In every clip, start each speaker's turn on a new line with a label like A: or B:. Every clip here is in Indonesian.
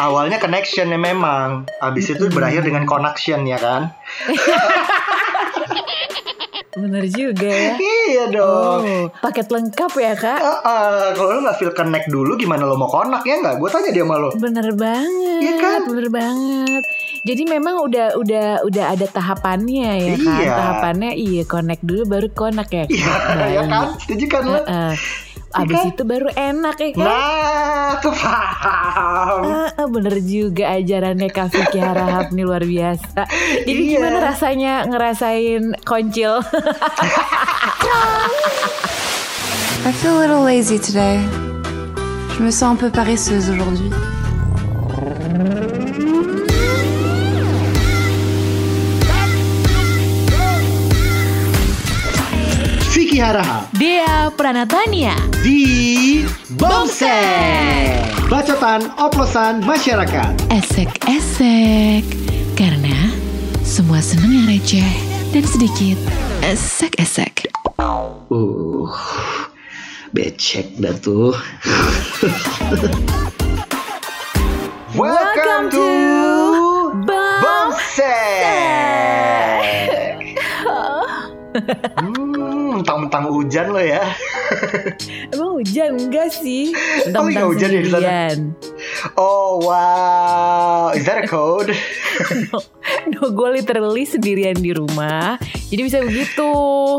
A: awalnya connection ya memang habis itu berakhir dengan connection ya kan
B: Bener juga ya.
A: iya dong
B: Oh, paket lengkap ya kak.
A: Ah, ah, kalau lu nggak feel connect dulu gimana lo mau connect ya nggak gue tanya dia sama lo
B: Bener banget,
A: Iya kan?
B: bener banget. Jadi memang udah udah udah ada tahapannya ya kan,
A: Iya.
B: tahapannya iya connect dulu baru connect ya.
A: iya ya kan setuju kan lo
B: Heeh. Abis
A: Iya kan?
B: itu baru enak ya kan.
A: nah tuh paham
B: Ah, ah, bener juga ajarannya Kak Vicky Harahap nih luar biasa. Jadi
A: Iya.
B: gimana rasanya ngerasain koncil?
C: I feel a little lazy today. Je me sens un peu paresseuse aujourd'hui.
A: Vicky Haraha
B: Dia Pranatania.
A: di Bomsek bacotan oplosan masyarakat
B: Esek-esek. Karena semua seneng yang receh dan sedikit esek-esek.
A: uh becek dah tuh
B: Welcome to Bang.
A: Bomsek. Hmm, mentang-mentang hujan lo ya.
B: Emang hujan enggak sih?
A: Oh, iya, hujan ya di sana.
B: sendirian.
A: Oh wow, is that a code?
B: No, gue literally sendirian di rumah. Jadi bisa begitu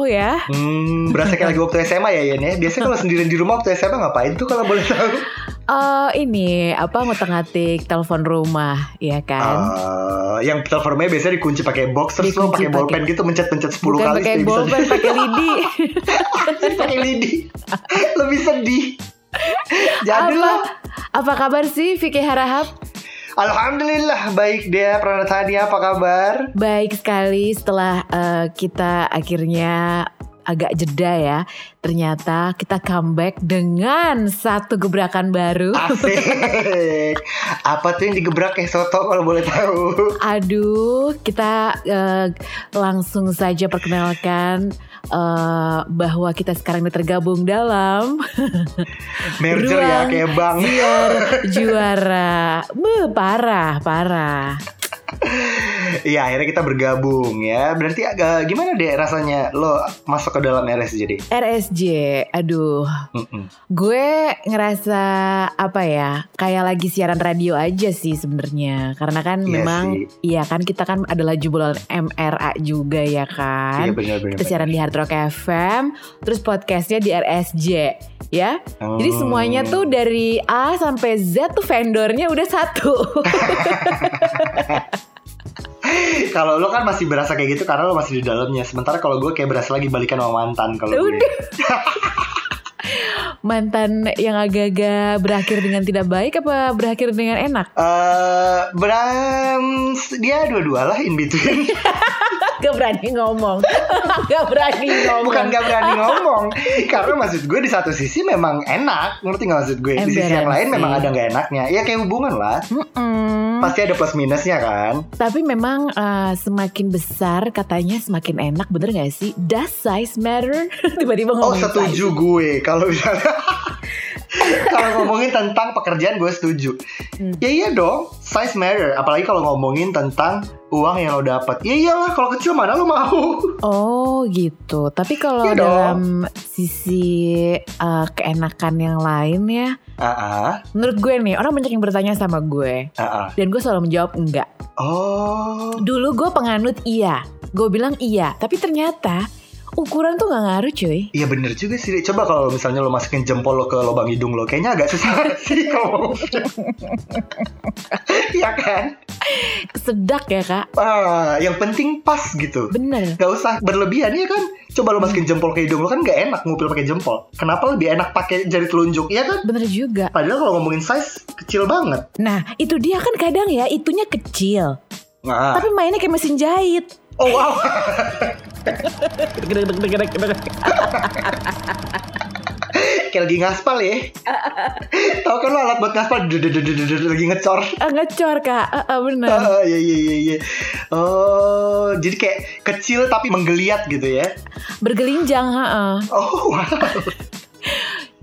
B: ya.
A: Hmm, berasa kayak lagi waktu SMA ya Yen ya. Biasanya kalau sendirian di rumah waktu SMA ngapain tuh kalau boleh tahu?
B: Eh ini apa ngotak-ngatik telepon rumah ya kan?
A: Eh, yang performanya biasanya dikunci pakai box terus lo
B: Dikunci
A: pakai
B: pakai-
A: bolpen gitu mencet-mencet 10
B: Bukan
A: kali supaya bisa
B: pakai bolpen, pakai lidi.
A: di- pakai lidi. Lebih sedih. Jadilah.
B: apa, apa kabar sih Vicky Harahap?
A: Alhamdulillah baik dia Pranatani apa kabar?
B: Baik sekali setelah eh, kita akhirnya agak jeda ya. Ternyata kita comeback dengan satu gebrakan baru.
A: Asik. Apa tuh yang digebrak ya soto kalau boleh tahu?
B: Aduh, kita eh, langsung saja perkenalkan eh, bahwa kita sekarang ini tergabung dalam
A: Merger ya
B: Ruang
A: kayak bang.
B: siar juara. Beuh, parah, parah.
A: Iya akhirnya kita bergabung ya. Berarti agak gimana deh rasanya lo masuk ke dalam RS jadi?
B: RSJ, aduh,
A: Mm-mm.
B: gue ngerasa apa ya, kayak lagi siaran radio aja sih sebenarnya, karena kan
A: Iya
B: memang,
A: sih.
B: iya kan kita kan adalah jubulan MRA juga ya kan,
A: Iya benar-benar.
B: Kita siaran di Hard Rock FM, terus podcastnya di RSJ, ya. Jadi
A: Oh.
B: semuanya tuh dari A sampai Z tuh vendornya udah satu.
A: Kalau lo kan masih berasa kayak gitu karena lo masih di dalamnya. Sementara kalau gue kayak berasa lagi balikan sama mantan kalau gue.
B: Udah. Mantan yang agak-agak berakhir dengan tidak baik apa berakhir dengan enak?
A: Eh, Bram, dia dua-dua lah in between.
B: Gak berani ngomong. Gak berani ngomong.
A: Bukan gak berani ngomong, karena maksud gue di satu sisi memang enak, ngerti gak maksud gue? Di sisi yang
B: Emberan
A: lain
B: sih.
A: memang ada gak enaknya. Ya kayak hubungan lah.
B: Mm-mm.
A: pasti ada plus minusnya kan
B: Tapi memang eh, semakin besar katanya semakin enak, bener gak sih? Does size matter? Tiba-tiba
A: oh
B: ngomong size.
A: setuju gue kalau misalnya kalau ngomongin tentang pekerjaan gue setuju
B: Hmm.
A: ya iya dong size matter apalagi kalau ngomongin tentang uang yang lo dapat ya iyalah kalau kecil mana lo mau
B: Oh gitu. Tapi kalau
A: Iya dong.
B: dalam sisi uh, keenakan yang lain ya,
A: ah ah
B: menurut gue nih orang banyak yang bertanya sama gue
A: ah, ah.
B: dan gue selalu menjawab enggak.
A: oh
B: Dulu gue penganut iya, gue bilang iya. Tapi ternyata ukuran tuh nggak ngaruh cuy.
A: Iya bener juga sih, Dek. coba kalau misalnya lo masukin jempol lo ke lubang hidung lo, kayaknya agak susah sih kalau Iya kan?
B: Sedak ya kak.
A: Ah, yang penting pas gitu.
B: Bener.
A: Gak usah berlebihan ya kan Coba lo masukin jempol ke hidung lo kan gak enak ngupil pakai jempol Kenapa lebih enak pakai jari telunjuk ya kan
B: Bener juga.
A: Padahal kalau ngomongin size kecil banget
B: Nah itu dia kan kadang ya itunya kecil.
A: nah.
B: Tapi mainnya kayak mesin jahit.
A: Oh wow Kayak lagi ngaspal ya Tau kan lo alat buat ngaspal dededededed, Lagi ngecor
B: Ah, Ngecor kak. Ah, ah, bener.
A: Ah, Iya iya iya iya Oh jadi kayak kecil tapi menggeliat gitu ya
B: Bergelinjang. ah, ah.
A: Oh wow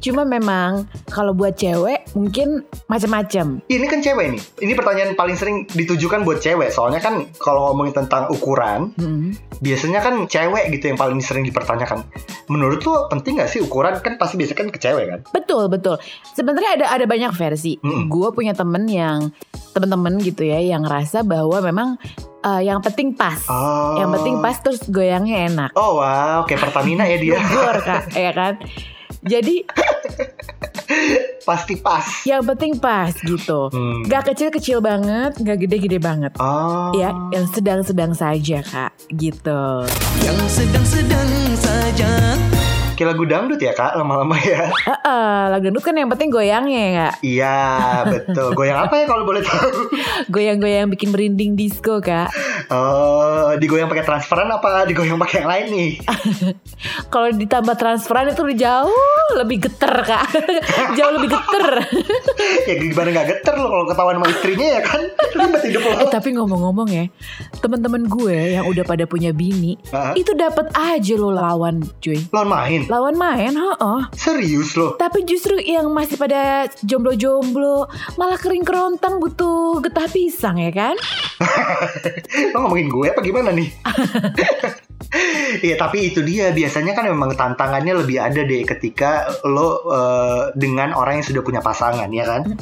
B: Cuma memang kalau buat cewek mungkin macam-macam.
A: Ini kan cewek nih. Ini pertanyaan paling sering ditujukan buat cewek. Soalnya kan kalau ngomongin tentang ukuran,
B: Hmm.
A: biasanya kan cewek gitu yang paling sering dipertanyakan. Menurut lo penting gak sih ukuran? Kan pasti biasanya kan ke cewek kan.
B: Betul betul. Sebenarnya ada ada banyak versi.
A: Mm-mm.
B: Gue punya temen yang temen-temen gitu ya yang rasa bahwa memang eh, yang penting pas,
A: Oh.
B: yang penting pas terus goyangnya enak.
A: Oh wow, kayak Pertamina ya dia.
B: Gor kak, ya kan. Jadi
A: pasti pas.
B: yang penting pas gitu.
A: Hmm.
B: Gak kecil-kecil banget, gak gede-gede banget.
A: Oh.
B: Ya, yang sedang-sedang saja kak, gitu.
D: yang sedang-sedang saja
A: Kayak lagu dangdut ya kak, lama-lama ya.
B: Eh, eh, lagu dangdut kan yang penting goyangnya ya kak.
A: Iya, betul. Goyang apa ya kalau boleh tahu?
B: Goyang-goyang bikin merinding disco kak.
A: Oh, digoyang pakai transferan apa digoyang pakai yang lain nih?
B: Kalau ditambah transferan itu udah jauh lebih geter kak. jauh lebih geter.
A: ya gimana nggak geter lo kalau ketahuan sama istrinya ya kan? Ribet hidup lo.
B: eh tapi ngomong-ngomong ya, teman-teman gue yang udah pada punya bini,
A: Hah?
B: itu dapat aja lo lawan cuy.
A: Lawan main.
B: Lawan main, heeh.
A: Serius lo.
B: Tapi justru yang masih pada jomblo-jomblo malah kering kerontang butuh getah pisang ya kan?
A: Lo ngomongin gue apa gimana nih? Iya tapi itu dia biasanya kan memang tantangannya lebih ada deh ketika lo eh, dengan orang yang sudah punya pasangan ya kan.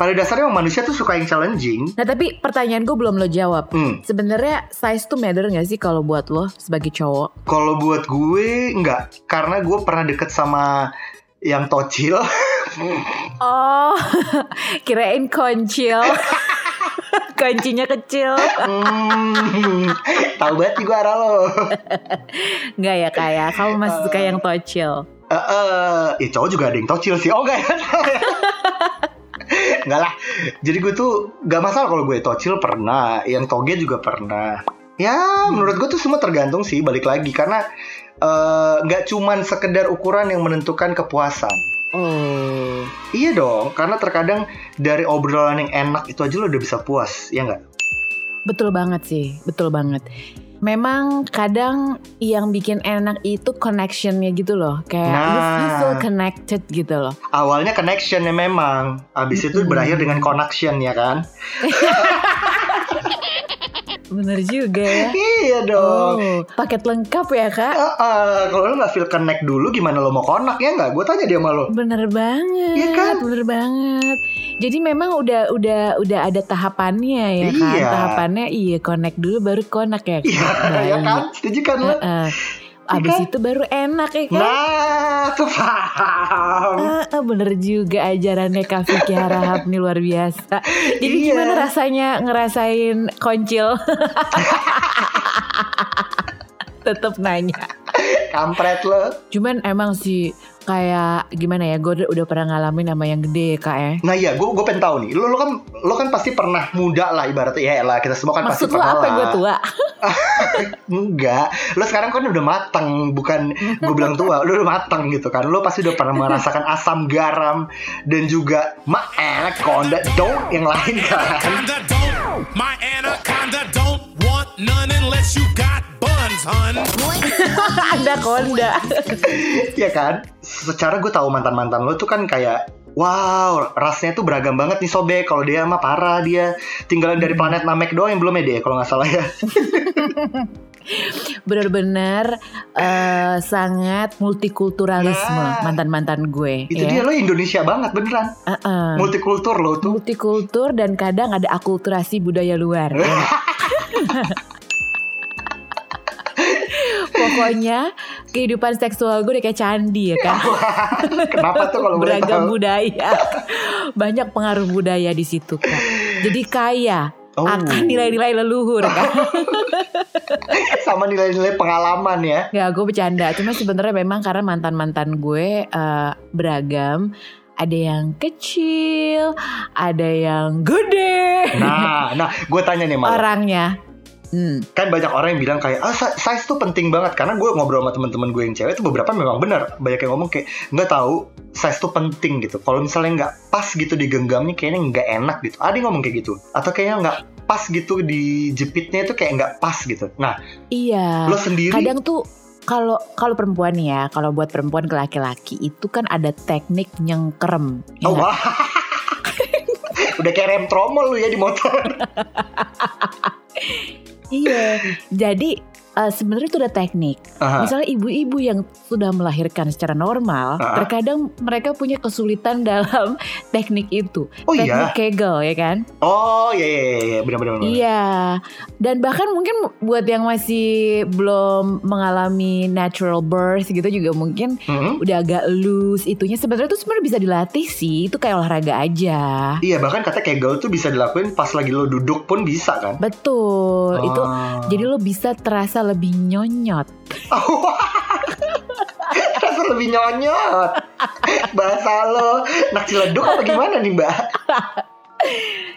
A: Pada dasarnya emang manusia tuh suka yang challenging.
B: Nah tapi pertanyaan gue belum lo jawab.
A: Hmm.
B: Sebenarnya size tuh matter gak sih kalau buat lo sebagai cowok?
A: Kalau buat gue nggak karena gue pernah deket sama yang tocil.
B: Oh, kirain koncil. Kuncinya kecil.
A: Hmm, tahu banget nih gue arah lo.
B: Enggak ya kak ya, kamu masih suka yang tocil.
A: Eh, eh, ya cowok juga ada yang tocil sih. Oh enggak ya. Enggak lah. Jadi gue tuh gak masalah kalau gue tocil pernah, yang toge juga pernah. Ya, menurut gue tuh semua tergantung sih balik lagi karena eh, nggak cuman sekedar ukuran yang menentukan kepuasan.
B: Oh.
A: Iya dong, karena terkadang dari obrolan yang enak itu aja lo udah bisa puas, ya nggak?
B: Betul banget sih, betul banget. Memang kadang yang bikin enak itu connectionnya gitu loh, kayak you, you
A: Nah.
B: feel connected gitu loh.
A: Awalnya connectionnya memang, abis itu
B: Mm-mm.
A: berakhir dengan connection ya kan?
B: Bener juga ya.
A: Iya dong.
B: Oh, paket lengkap ya kak.
A: Ah, ah, kalau lo nggak feel connect dulu gimana lo mau connect ya nggak? Gue tanya dia sama lo.
B: Bener banget,
A: Iya kan?
B: bener banget. Jadi memang udah udah udah ada tahapannya ya kan,
A: Iya.
B: tahapannya iya connect dulu baru connect ya.
A: Iya, ya kan? Setuju kan lo?
B: Heeh. Abis
A: kan?
B: itu baru enak ya kan.
A: Nah, tuh paham.
B: Ah, ah, bener juga ajarannya Kak Vicky Harahap nih luar biasa. Jadi
A: Iya.
B: gimana rasanya ngerasain koncil? Tetep nanya.
A: Kampret lo.
B: Cuman emang sih kayak gimana ya? Gue udah, udah pernah ngalamin sama yang gede ya, kak ya.
A: Nah iya, gue gue pengen tahu nih. Lo lo kan lo kan pasti pernah muda lah ibaratnya ya lah. Kita semua kan pasti
B: Maksud lo
A: pernah
B: apa
A: lah.
B: gue tua?
A: Enggak. Lo sekarang kan udah matang, bukan gue bilang tua. Lo udah matang gitu kan. Lo pasti udah pernah merasakan asam garam dan juga maelek konda dong yang lain kan.
E: Anaconda don't, my anaconda don't want none unless you got buns, hun.
B: Ada konda.
A: Iya kan? Secara gue tahu mantan-mantan lo tuh kan kayak Wow, rasnya tuh beragam banget nih sobek. Kalau dia mah parah dia tinggalan dari planet Namek doang yang belum ya dia kalau nggak salah ya.
B: Bener-bener eh, sangat multikulturalisme
A: Nah.
B: mantan-mantan gue. ya.
A: Itu dia lo Indonesia banget beneran.
B: Heeh.
A: Multikultur lo tuh.
B: multikultur dan kadang ada akulturasi budaya luar. ya. Pokoknya kehidupan seksual gue udah kayak candi ya kan.
A: Kenapa tuh kalau boleh
B: Beragam
A: tahu?
B: budaya. Banyak pengaruh budaya di situ Kak. Jadi kaya
A: Oh.
B: akan nilai-nilai leluhur kan.
A: Sama nilai-nilai pengalaman ya.
B: Gak gue bercanda. Cuma sebenarnya memang karena mantan-mantan gue eh, beragam. Ada yang kecil, ada yang gede.
A: Nah, nah, gue tanya nih malah.
B: Orangnya. Hmm.
A: Kan banyak orang yang bilang kayak, ah si- size tuh penting banget. Karena gue ngobrol sama teman-teman gue yang cewek tuh beberapa memang benar. Banyak yang ngomong kayak, nggak tahu size tuh penting gitu. Kalau misalnya nggak pas gitu digenggamnya kayaknya nggak enak gitu. Ada yang ngomong kayak gitu. Atau kayaknya nggak pas gitu di jepitnya itu kayak nggak pas gitu. Nah,
B: Iya.
A: lo sendiri
B: kadang tuh kalau kalau perempuan nih ya, kalau buat perempuan ke laki-laki itu kan ada teknik nyengkerem. ya
A: Oh,
B: nggak?
A: wah. Udah kayak rem tromol lu ya di motor.
B: Iya. Jadi eh, sebenarnya itu ada teknik.
A: Aha.
B: Misalnya ibu-ibu yang sudah melahirkan secara normal,
A: Ah.
B: terkadang mereka punya kesulitan dalam teknik itu.
A: Oh iya.
B: teknik Kegel ya kan?
A: Oh iya iya iya benar-benar.
B: Iya. Dan bahkan mungkin buat yang masih belum mengalami natural birth gitu juga mungkin
A: Mhm.
B: udah agak loose itunya sebenarnya tuh sebenarnya bisa dilatih sih. Itu kayak olahraga aja.
A: Iya bahkan kata kegel tuh bisa dilakuin pas lagi lo duduk pun bisa kan.
B: Betul. Itu
A: Ah.
B: jadi lo bisa terasa lebih nyonyot.
A: Terasa lebih nyonyot. Bahasa lo nak ciledug apa gimana nih mbak?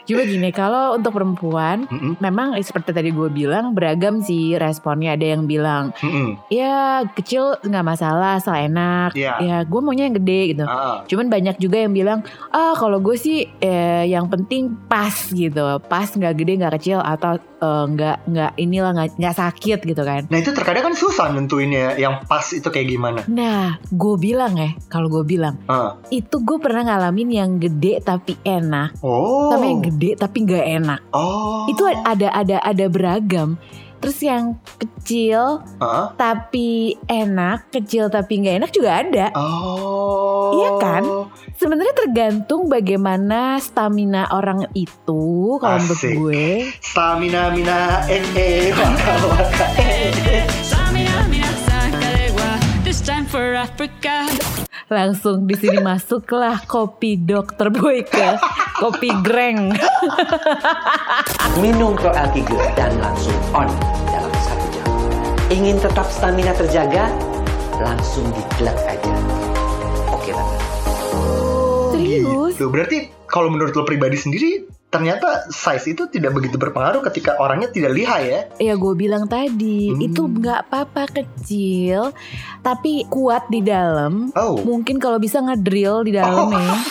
B: Cuma gini, kalau untuk perempuan
A: Mhm,
B: Memang seperti tadi gue bilang beragam sih responnya ada yang bilang
A: mhm.
B: ya kecil nggak masalah asal enak
A: Iya.
B: ya gue maunya yang gede gitu
A: Ah,
B: cuman banyak juga yang bilang ah kalau gue sih eh, yang penting pas gitu pas nggak gede nggak kecil atau eh, nggak nggak inilah nggak nggak sakit gitu kan
A: Nah itu terkadang kan susah nentuinnya yang pas itu kayak gimana.
B: nah gue bilang ya kalau gue bilang
A: Ah.
B: itu gue pernah ngalamin yang gede tapi enak
A: Oh.
B: sama yang gede tapi nggak enak
A: Oh.
B: itu ada ada ada beragam terus yang kecil
A: Ah.
B: tapi enak kecil tapi nggak enak juga ada
A: Oh.
B: Iya kan? sebenarnya tergantung bagaimana stamina orang itu kalau menurut
A: Asik.
B: gue
A: Stamina mina eh eh waka waka eh eh.
F: This time for Africa.
B: langsung di sini masuklah kopi dokter boy ke kopi greng
G: Minum Proalki Gold dan langsung on dalam satu jam. Ingin tetap stamina terjaga? Langsung diglek aja. Oke banget.
A: Oh,
B: serius
A: Tuh berarti kalau menurut lo pribadi sendiri ternyata size itu tidak begitu berpengaruh ketika orangnya tidak lihai ya.
B: ya gue bilang tadi
A: Hmm.
B: itu nggak apa-apa kecil tapi kuat di dalam
A: Oh.
B: mungkin kalau bisa ngedrill di dalam ya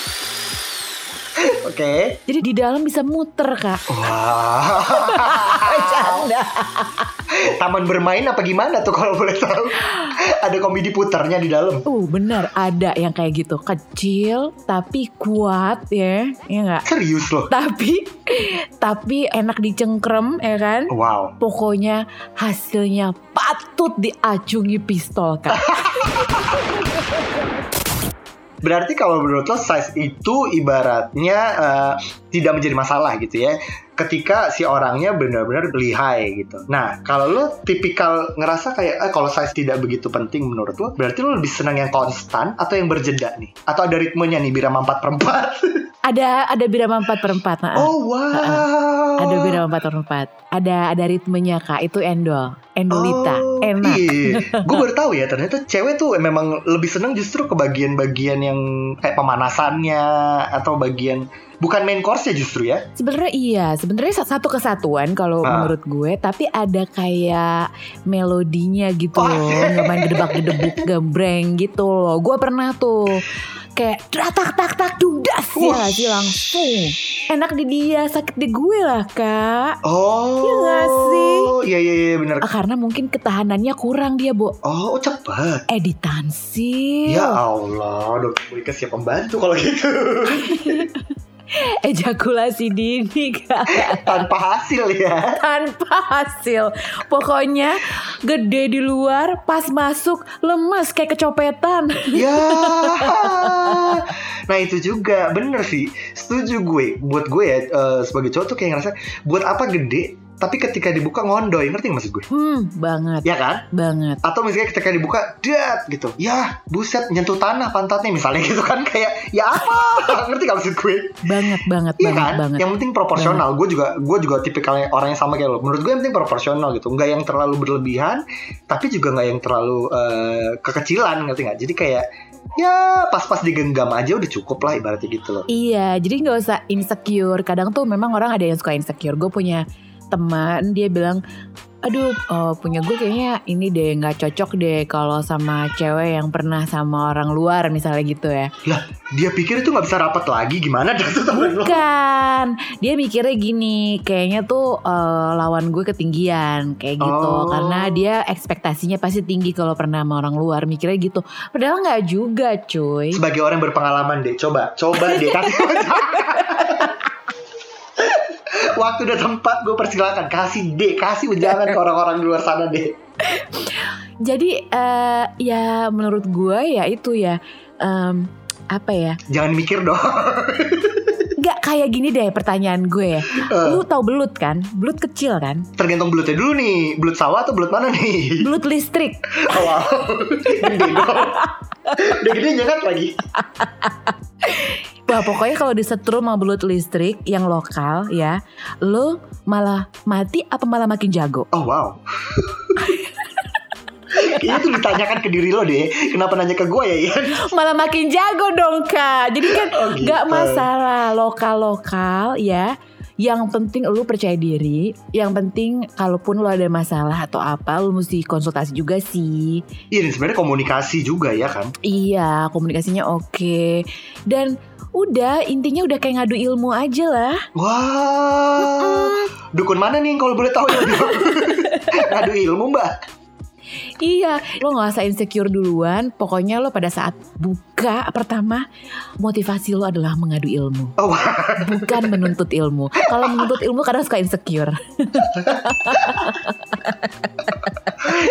A: Oke.
B: jadi di dalam bisa muter kak
A: Oh. Wah. Taman bermain apa gimana tuh kalau boleh tahu? Ada komedi putarnya di dalam.
B: Uh benar ada yang kayak gitu kecil tapi kuat ya ya nggak
A: Serius loh.
B: tapi tapi enak dicengkrem ya kan
A: Oh, Wow.
B: pokoknya hasilnya patut diacungi pistol kan
A: Berarti kalau menurut lo size itu ibaratnya eh, tidak menjadi masalah gitu ya. Ketika si orangnya benar-benar lihai gitu. Nah, kalau lo tipikal ngerasa kayak eh, kalau size tidak begitu penting menurut lo, berarti lo lebih senang yang konstan atau yang berjeda nih? Atau ada ritmenya nih birama 4 per 4?
B: ada ada birama empat per empat nah,
A: oh, wow.
B: ada birama empat per empat ada ada ritmenya kak itu endol endolita
A: Oh,
B: enak
A: Iya. Gue baru tahu ya ternyata cewek tuh memang lebih seneng justru ke bagian-bagian yang kayak pemanasannya atau bagian bukan main course-nya justru ya.
B: sebenarnya iya sebenarnya satu kesatuan kalau
A: Ah.
B: menurut gue tapi ada kayak melodinya gitu
A: Wah.
B: loh nggak main gedebak gedebuk gembreng gitu loh gue pernah tuh kayak tak tak tak dudas ya
A: Wah.
B: nggak sih langsung enak di dia sakit di gue lah kak
A: Oh.
B: Iya nggak sih?
A: Iya iya iya benar.
B: Ah, karena mungkin ketahanannya kurang dia bu
A: Oh, oh, cepat.
B: eh ditansil
A: Ya Allah, dokter Boyka siap membantu kalau gitu.
B: Eh, ejakulasi dini kak
A: Tanpa hasil ya.
B: tanpa hasil. Pokoknya gede di luar, pas masuk lemes kayak kecopetan.
A: Ya. Nah itu juga bener sih. Setuju gue. Buat gue ya eh, sebagai cowok tuh kayak ngerasa buat apa gede tapi ketika dibuka ngondoy ngerti nggak maksud gue?
B: Hmm, banget,
A: Ya kan?
B: banget.
A: atau misalnya ketika dibuka dat gitu ya buset nyentuh tanah pantatnya misalnya gitu kan kayak ya apa ngerti gak maksud gue
B: Banget, banget,
A: iya
B: banget,
A: kan
B: banget.
A: yang penting proporsional gue juga gue juga tipikalnya orang yang sama kayak lo menurut gue yang penting proporsional gitu nggak yang terlalu berlebihan tapi juga nggak yang terlalu eh, kekecilan ngerti nggak jadi kayak ya pas-pas digenggam aja udah cukup lah ibaratnya gitu loh
B: Iya, jadi nggak usah insecure. Kadang tuh memang orang ada yang suka insecure. Gue punya teman dia bilang aduh oh, punya gue kayaknya ini deh nggak cocok deh kalau sama cewek yang pernah sama orang luar misalnya gitu ya
A: Lah, dia pikir itu nggak bisa rapat lagi gimana dah tuh temen lo?
B: Bukan, dia mikirnya gini, kayaknya tuh eh, lawan gue ketinggian kayak gitu,
A: Oh.
B: karena dia ekspektasinya pasti tinggi kalau pernah sama orang luar mikirnya gitu. Padahal nggak juga, cuy.
A: Sebagai orang berpengalaman deh, coba, coba deh kasih Waktu dan tempat gue persilakan kasih deh, kasih ujangan ke orang-orang di luar sana deh.
B: Jadi eh, ya menurut gue ya itu ya em, apa ya?
A: Jangan mikir dong.
B: Gak kayak gini deh pertanyaan gue ya. Lu tau belut kan? Belut kecil kan?
A: Tergantung belutnya dulu nih, belut sawah atau belut mana nih?
B: Belut listrik.
A: Oh, wow. Gede dong. Udah gede nyengat lagi.
B: Wah pokoknya kalau disetrum sama belut listrik yang lokal ya, lu malah mati apa malah makin jago?
A: Oh wow. Kayaknya itu ditanyakan ke diri lo deh. Kenapa nanya ke gue ya Ian?
B: malah makin jago dong kak jadi kan
A: Oh, gitu.
B: nggak masalah lokal lokal ya yang penting lu percaya diri yang penting kalaupun lu ada masalah atau apa lu mesti konsultasi juga sih
A: Iya dan sebenarnya komunikasi juga ya kan.
B: iya komunikasinya oke dan udah intinya udah kayak ngadu ilmu aja lah
A: Wah. Dukun mana nih yang kalau boleh tahu ya? Aduh ilmu mbak.
B: Iya, lo gak usah insecure duluan. Pokoknya lo pada saat buka pertama, motivasi lo adalah mengadu ilmu.
A: Oh,
B: Bukan menuntut ilmu. Kalau menuntut ilmu kadang suka insecure.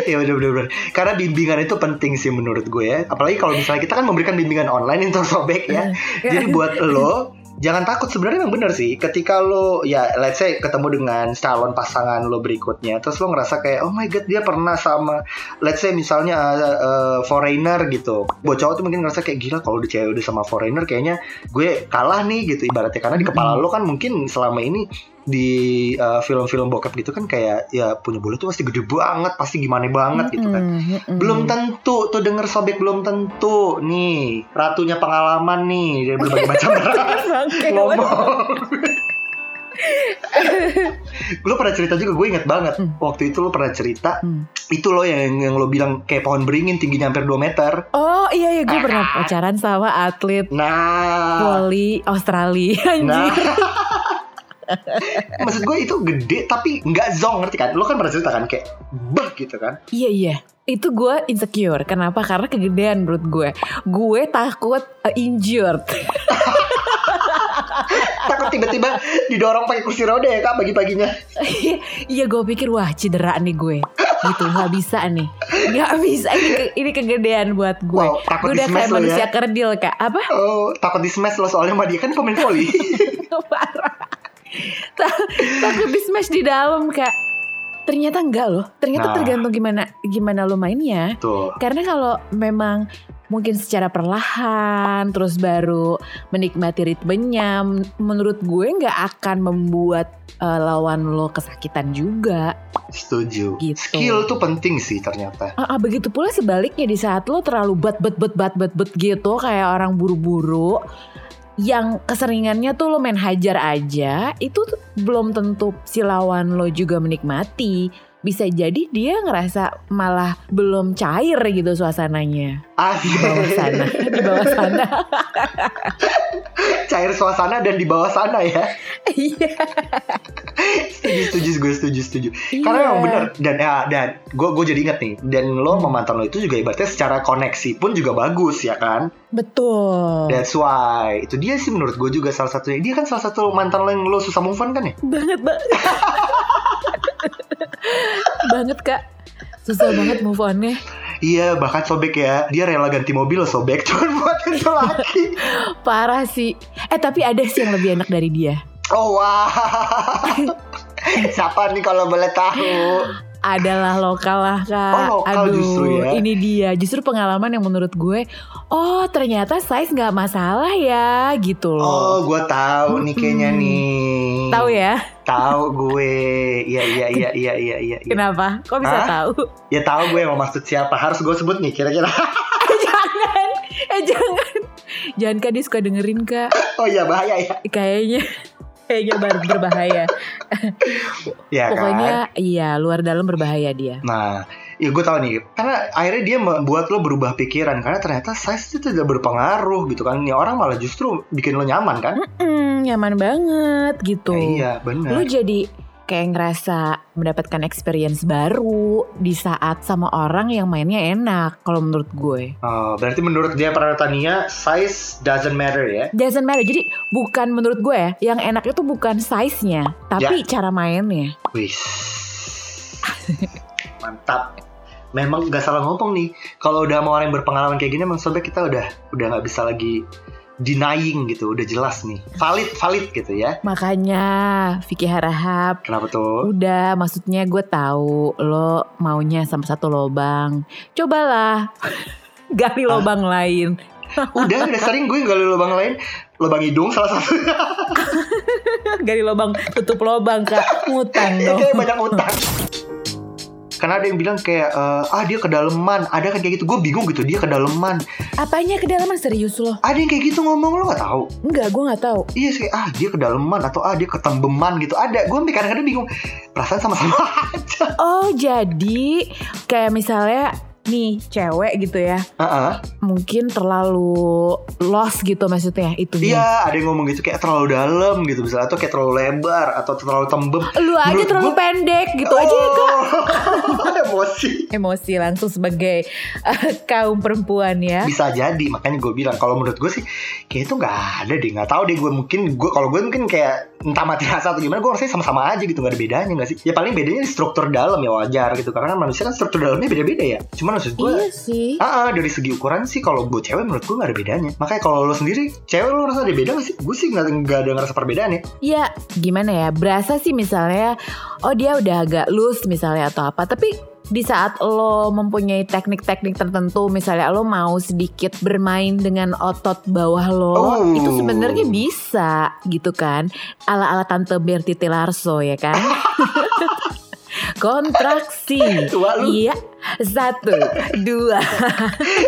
A: ya udah bener bener. Karena bimbingan itu penting sih menurut gue ya. Apalagi kalau misalnya kita kan memberikan bimbingan online untuk sobek ya. Jadi buat lo jangan takut sebenarnya emang bener sih ketika lo ya let's say ketemu dengan calon pasangan lo berikutnya terus lo ngerasa kayak oh my god dia pernah sama let's say misalnya uh, uh, foreigner gitu buat cowok tuh mungkin ngerasa kayak gila kalau udah cewek udah sama foreigner kayaknya gue kalah nih gitu ibaratnya karena di kepala lo kan mungkin selama ini di uh, film-film bokep gitu kan kayak ya punya bulu tuh pasti gede banget pasti gimana banget gitu kan
B: Mm, mm, mm.
A: belum tentu tuh denger sobek belum tentu nih ratunya pengalaman nih dari berbagai macam ras
B: Bangke,
A: ngomong. lo pernah cerita juga gue inget banget
B: Hmm.
A: waktu itu lo pernah cerita
B: Hmm.
A: itu lo yang yang lo bilang kayak pohon beringin tingginya hampir 2 meter
B: Oh iya ya gue pernah pacaran sama atlet
A: nah
B: voli Australia
A: nah
B: anjir.
A: maksud gue itu gede tapi nggak zong ngerti kan lo kan pernah cerita kan kayak bah gitu kan
B: Iya iya. Itu gue insecure. Kenapa? Karena kegedean menurut gue. Gue takut uh, injured.
A: takut tiba-tiba didorong pakai kursi roda ya kak pagi-paginya
B: Iya gue pikir wah cedera nih gue. Gitu nggak bisa nih. Nggak bisa ini ke- ini kegedean buat gue.
A: Wow, takut
B: gue udah
A: di-smash
B: kayak
A: lo ya.
B: manusia kerdil kak. Apa?
A: Oh, takut di smash lo soalnya sama dia kan pemain volley.
B: Parah. Ta- takut di smash di dalam kak. Ternyata enggak loh.
A: Nah.
B: Ternyata tergantung gimana gimana lo mainnya.
A: Tuh.
B: Karena kalau memang mungkin secara perlahan terus baru menikmati ritmenya men- menurut gue nggak akan membuat eh, lawan lo kesakitan juga.
A: Setuju.
B: Gitu.
A: Skill tuh penting sih ternyata.
B: Ah, ah, begitu pula sebaliknya di saat lo terlalu bet bet bet bet bet bet gitu kayak orang buru-buru yang keseringannya tuh lo main hajar aja itu tuh belum tentu si lawan lo juga menikmati bisa jadi dia ngerasa malah belum cair gitu suasananya di bawah
A: Asik.
B: sana di bawah sana
A: Cair suasana dan di bawah sana ya.
B: iya
A: Setuju, setuju, gue setuju, setuju.
B: Iya.
A: Karena memang bener. Dan ya, dan gue gue jadi inget nih. Dan lo sama mantan lo itu juga ibaratnya secara koneksi pun juga bagus ya kan.
B: betul
A: That's why itu dia sih menurut gue juga salah satunya. Dia kan salah satu mantan lo yang lo susah move on kan ya.
B: banget banget banget kak susah banget move onnya
A: Iya, bahkan sobek ya. Dia rela ganti mobil sobek cuma buat itu laki.
B: parah sih eh tapi ada sih yang lebih enak dari dia
A: Oh wah. Siapa nih kalau boleh tahu?
B: adalah lokal lah kak
A: Oh, lokal
B: aduh
A: justru ya.
B: ini dia justru pengalaman yang menurut gue oh ternyata size nggak masalah ya gitu loh
A: Oh, gue tahu nih kayaknya
B: Mm-mm.
A: nih.
B: Hmm. tahu ya
A: Tahu gue. Iya iya iya iya iya iya. iya.
B: kenapa kok
A: Hah?
B: bisa tahu
A: Ya tahu gue mau maksud siapa. Harus gue sebut nih kira-kira.
B: jangan eh jangan jangan kak dia suka dengerin kak
A: Oh iya bahaya ya.
B: kayaknya kayaknya bar- berbahaya.
A: ya
B: Pokoknya
A: kan?
B: iya luar dalam berbahaya dia.
A: Nah, ya gue tahu nih, karena akhirnya dia membuat lo berubah pikiran karena ternyata size itu tidak berpengaruh gitu kan. Ya orang malah justru bikin lo nyaman kan?
B: Hmm, nyaman banget gitu.
A: Ya, iya,
B: Lu
A: benar.
B: jadi kayak ngerasa mendapatkan experience baru di saat sama orang yang mainnya enak kalau menurut gue.
A: Oh, berarti menurut dia Pranatania, size doesn't matter ya.
B: Doesn't matter. Jadi bukan menurut gue ya, yang enak itu bukan size-nya, tapi cara mainnya.
A: Wis. Mantap. Memang gak salah ngomong nih. Kalau udah sama orang yang berpengalaman kayak gini, emang sebenernya kita udah udah nggak bisa lagi denying gitu. Udah jelas nih. Valid, valid gitu ya.
B: Makanya Vicky Harahap
A: Kenapa tuh?
B: Udah, maksudnya gue tahu lo maunya sama satu lobang. Cobalah gali lobang lain.
A: Udah, udah sering gue gali lubang lain. Lubang hidung salah satu.
B: gali lobang, tutup lobang kak, ngutang dong.
A: Iya, kayak banyak utang. Karena ada yang bilang kayak, eh, ah dia kedalaman. Ada kan kayak gitu. Gue bingung gitu, dia kedalaman.
B: Apanya kedalaman serius lo?
A: Ada yang kayak gitu ngomong, lo gak tahu
B: Enggak, gue nggak tahu.
A: Iya sih, ah dia kedalaman atau ah dia ketembeman gitu. Ada, gue kadang-kadang bingung. Perasaan sama-sama aja.
B: Oh jadi kayak misalnya nih cewek gitu ya
A: Heeh.
B: mungkin terlalu lost gitu maksudnya itu
A: Iya, ada yang ngomong gitu kayak terlalu dalam gitu misalnya atau kayak terlalu lebar atau terlalu tembem.
B: lu
A: Iya.
B: aja
A: Menurut
B: terlalu
A: gua-
B: pendek gitu aja ya kak
A: Oh, Emosi.
B: emosi langsung sebagai eh, kaum perempuan ya
A: Bisa jadi, makanya gue bilang kalau menurut gue sih kayak itu nggak ada deh, nggak tahu deh gue mungkin gue kalau gue mungkin kayak entah mati rasa atau gimana, gue rasanya sama-sama aja gitu nggak ada bedanya nggak sih? Ya paling bedanya di struktur dalam ya wajar gitu karena kan manusia kan struktur dalamnya beda-beda ya. Cuman maksud gue
B: iya sih
A: Ah, ah, dari segi ukuran sih kalau buat cewek menurut gue gak ada bedanya. Makanya kalau lo sendiri, cewek lo ngerasa ada beda gak sih? Gue sih gak, ada ngerasa perbedaan ya.
B: Ya gimana ya Berasa sih misalnya Oh dia udah agak loose misalnya atau apa Tapi di saat lo mempunyai teknik-teknik tertentu Misalnya lo mau sedikit bermain dengan otot bawah lo
A: Oh.
B: Itu sebenarnya bisa gitu kan Ala-ala Tante Berti Larso ya kan Kontraksi
A: Tua lu.
B: Iya Satu Dua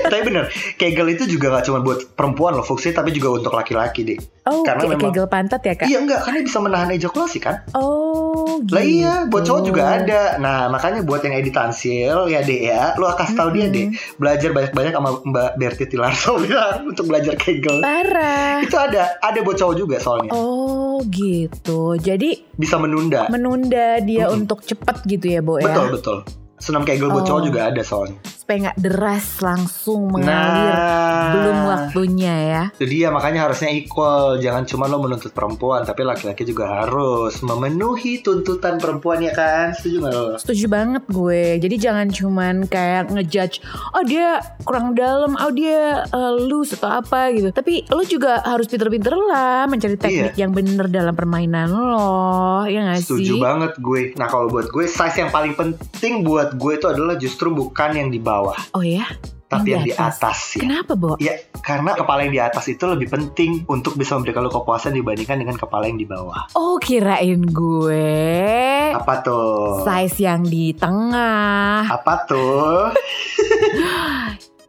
A: tapi bener, kegel itu juga gak cuma buat perempuan lo fungsinya, tapi juga untuk laki-laki deh.
B: Oh
A: Karena
B: kayak
A: memang-
B: kegel pantat ya kak
A: Iya enggak, karena bisa menahan ejakulasi kan?
B: Oh gitu
A: Lah iya, buat cowok juga ada. Nah, makanya buat yang editan sil ya deh ya, lo kasih tau dia deh. Belajar banyak-banyak sama Mbak Berti Tilarso bilang, untuk belajar kegel.
B: Parah
A: Itu ada, ada buat cowok juga soalnya.
B: Oh gitu. Jadi
A: Bisa menunda.
B: menunda dia
A: Mm-mm.
B: untuk cepet gitu ya, Bo ya.
A: betul, betul. Senam kegel buat
B: Oh.
A: cowok juga ada soalnya.
B: Supaya nggak deras langsung mengalir.
A: Nah.
B: Belum waktunya ya.
A: Jadi ya makanya harusnya equal, jangan cuma lo menuntut perempuan, tapi laki-laki juga harus memenuhi tuntutan perempuan ya kan? Setuju nggak lo?
B: Setuju banget gue. Jadi jangan cuman kayak ngejudge, oh dia kurang dalam, oh dia eh, loose atau apa gitu. Tapi lo juga harus pinter-pinter lah mencari
A: Iya.
B: teknik yang bener dalam permainan lo, ya nggak sih?
A: Setuju banget gue. Nah kalau buat gue size yang paling penting buat gue itu adalah justru bukan yang di bawah,
B: Oh ya,
A: tapi yang
B: Yang
A: di
B: di
A: atas ya.
B: kenapa Bo?
A: Ya, karena kepala yang di atas itu lebih penting untuk bisa memberikan lo kepuasan dibandingkan dengan kepala yang di bawah.
B: Oh kirain gue
A: Apa tuh?
B: size yang di tengah.
A: Apa tuh?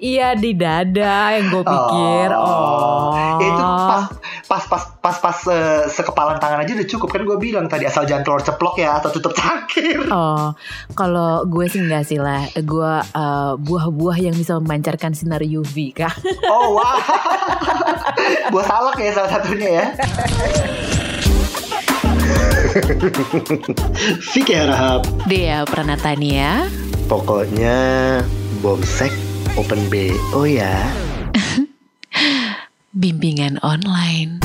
B: Iya di dada yang gue pikir. Oh,
A: Ya, itu pas pas pas pas pas eh, sekepalan tangan aja udah cukup kan gue bilang tadi asal jangan keluar ceplok ya atau tutup cangkir.
B: Oh, kalau gue sih enggak sih lah. Gue eh, buah-buah yang bisa memancarkan sinar UV kah?
A: Oh wah. Buah salak ya salah satunya ya. Vicky Harahap
B: Dea Pranatania.
A: Pokoknya Bomsek Open B Oh ya
B: Bimbingan online.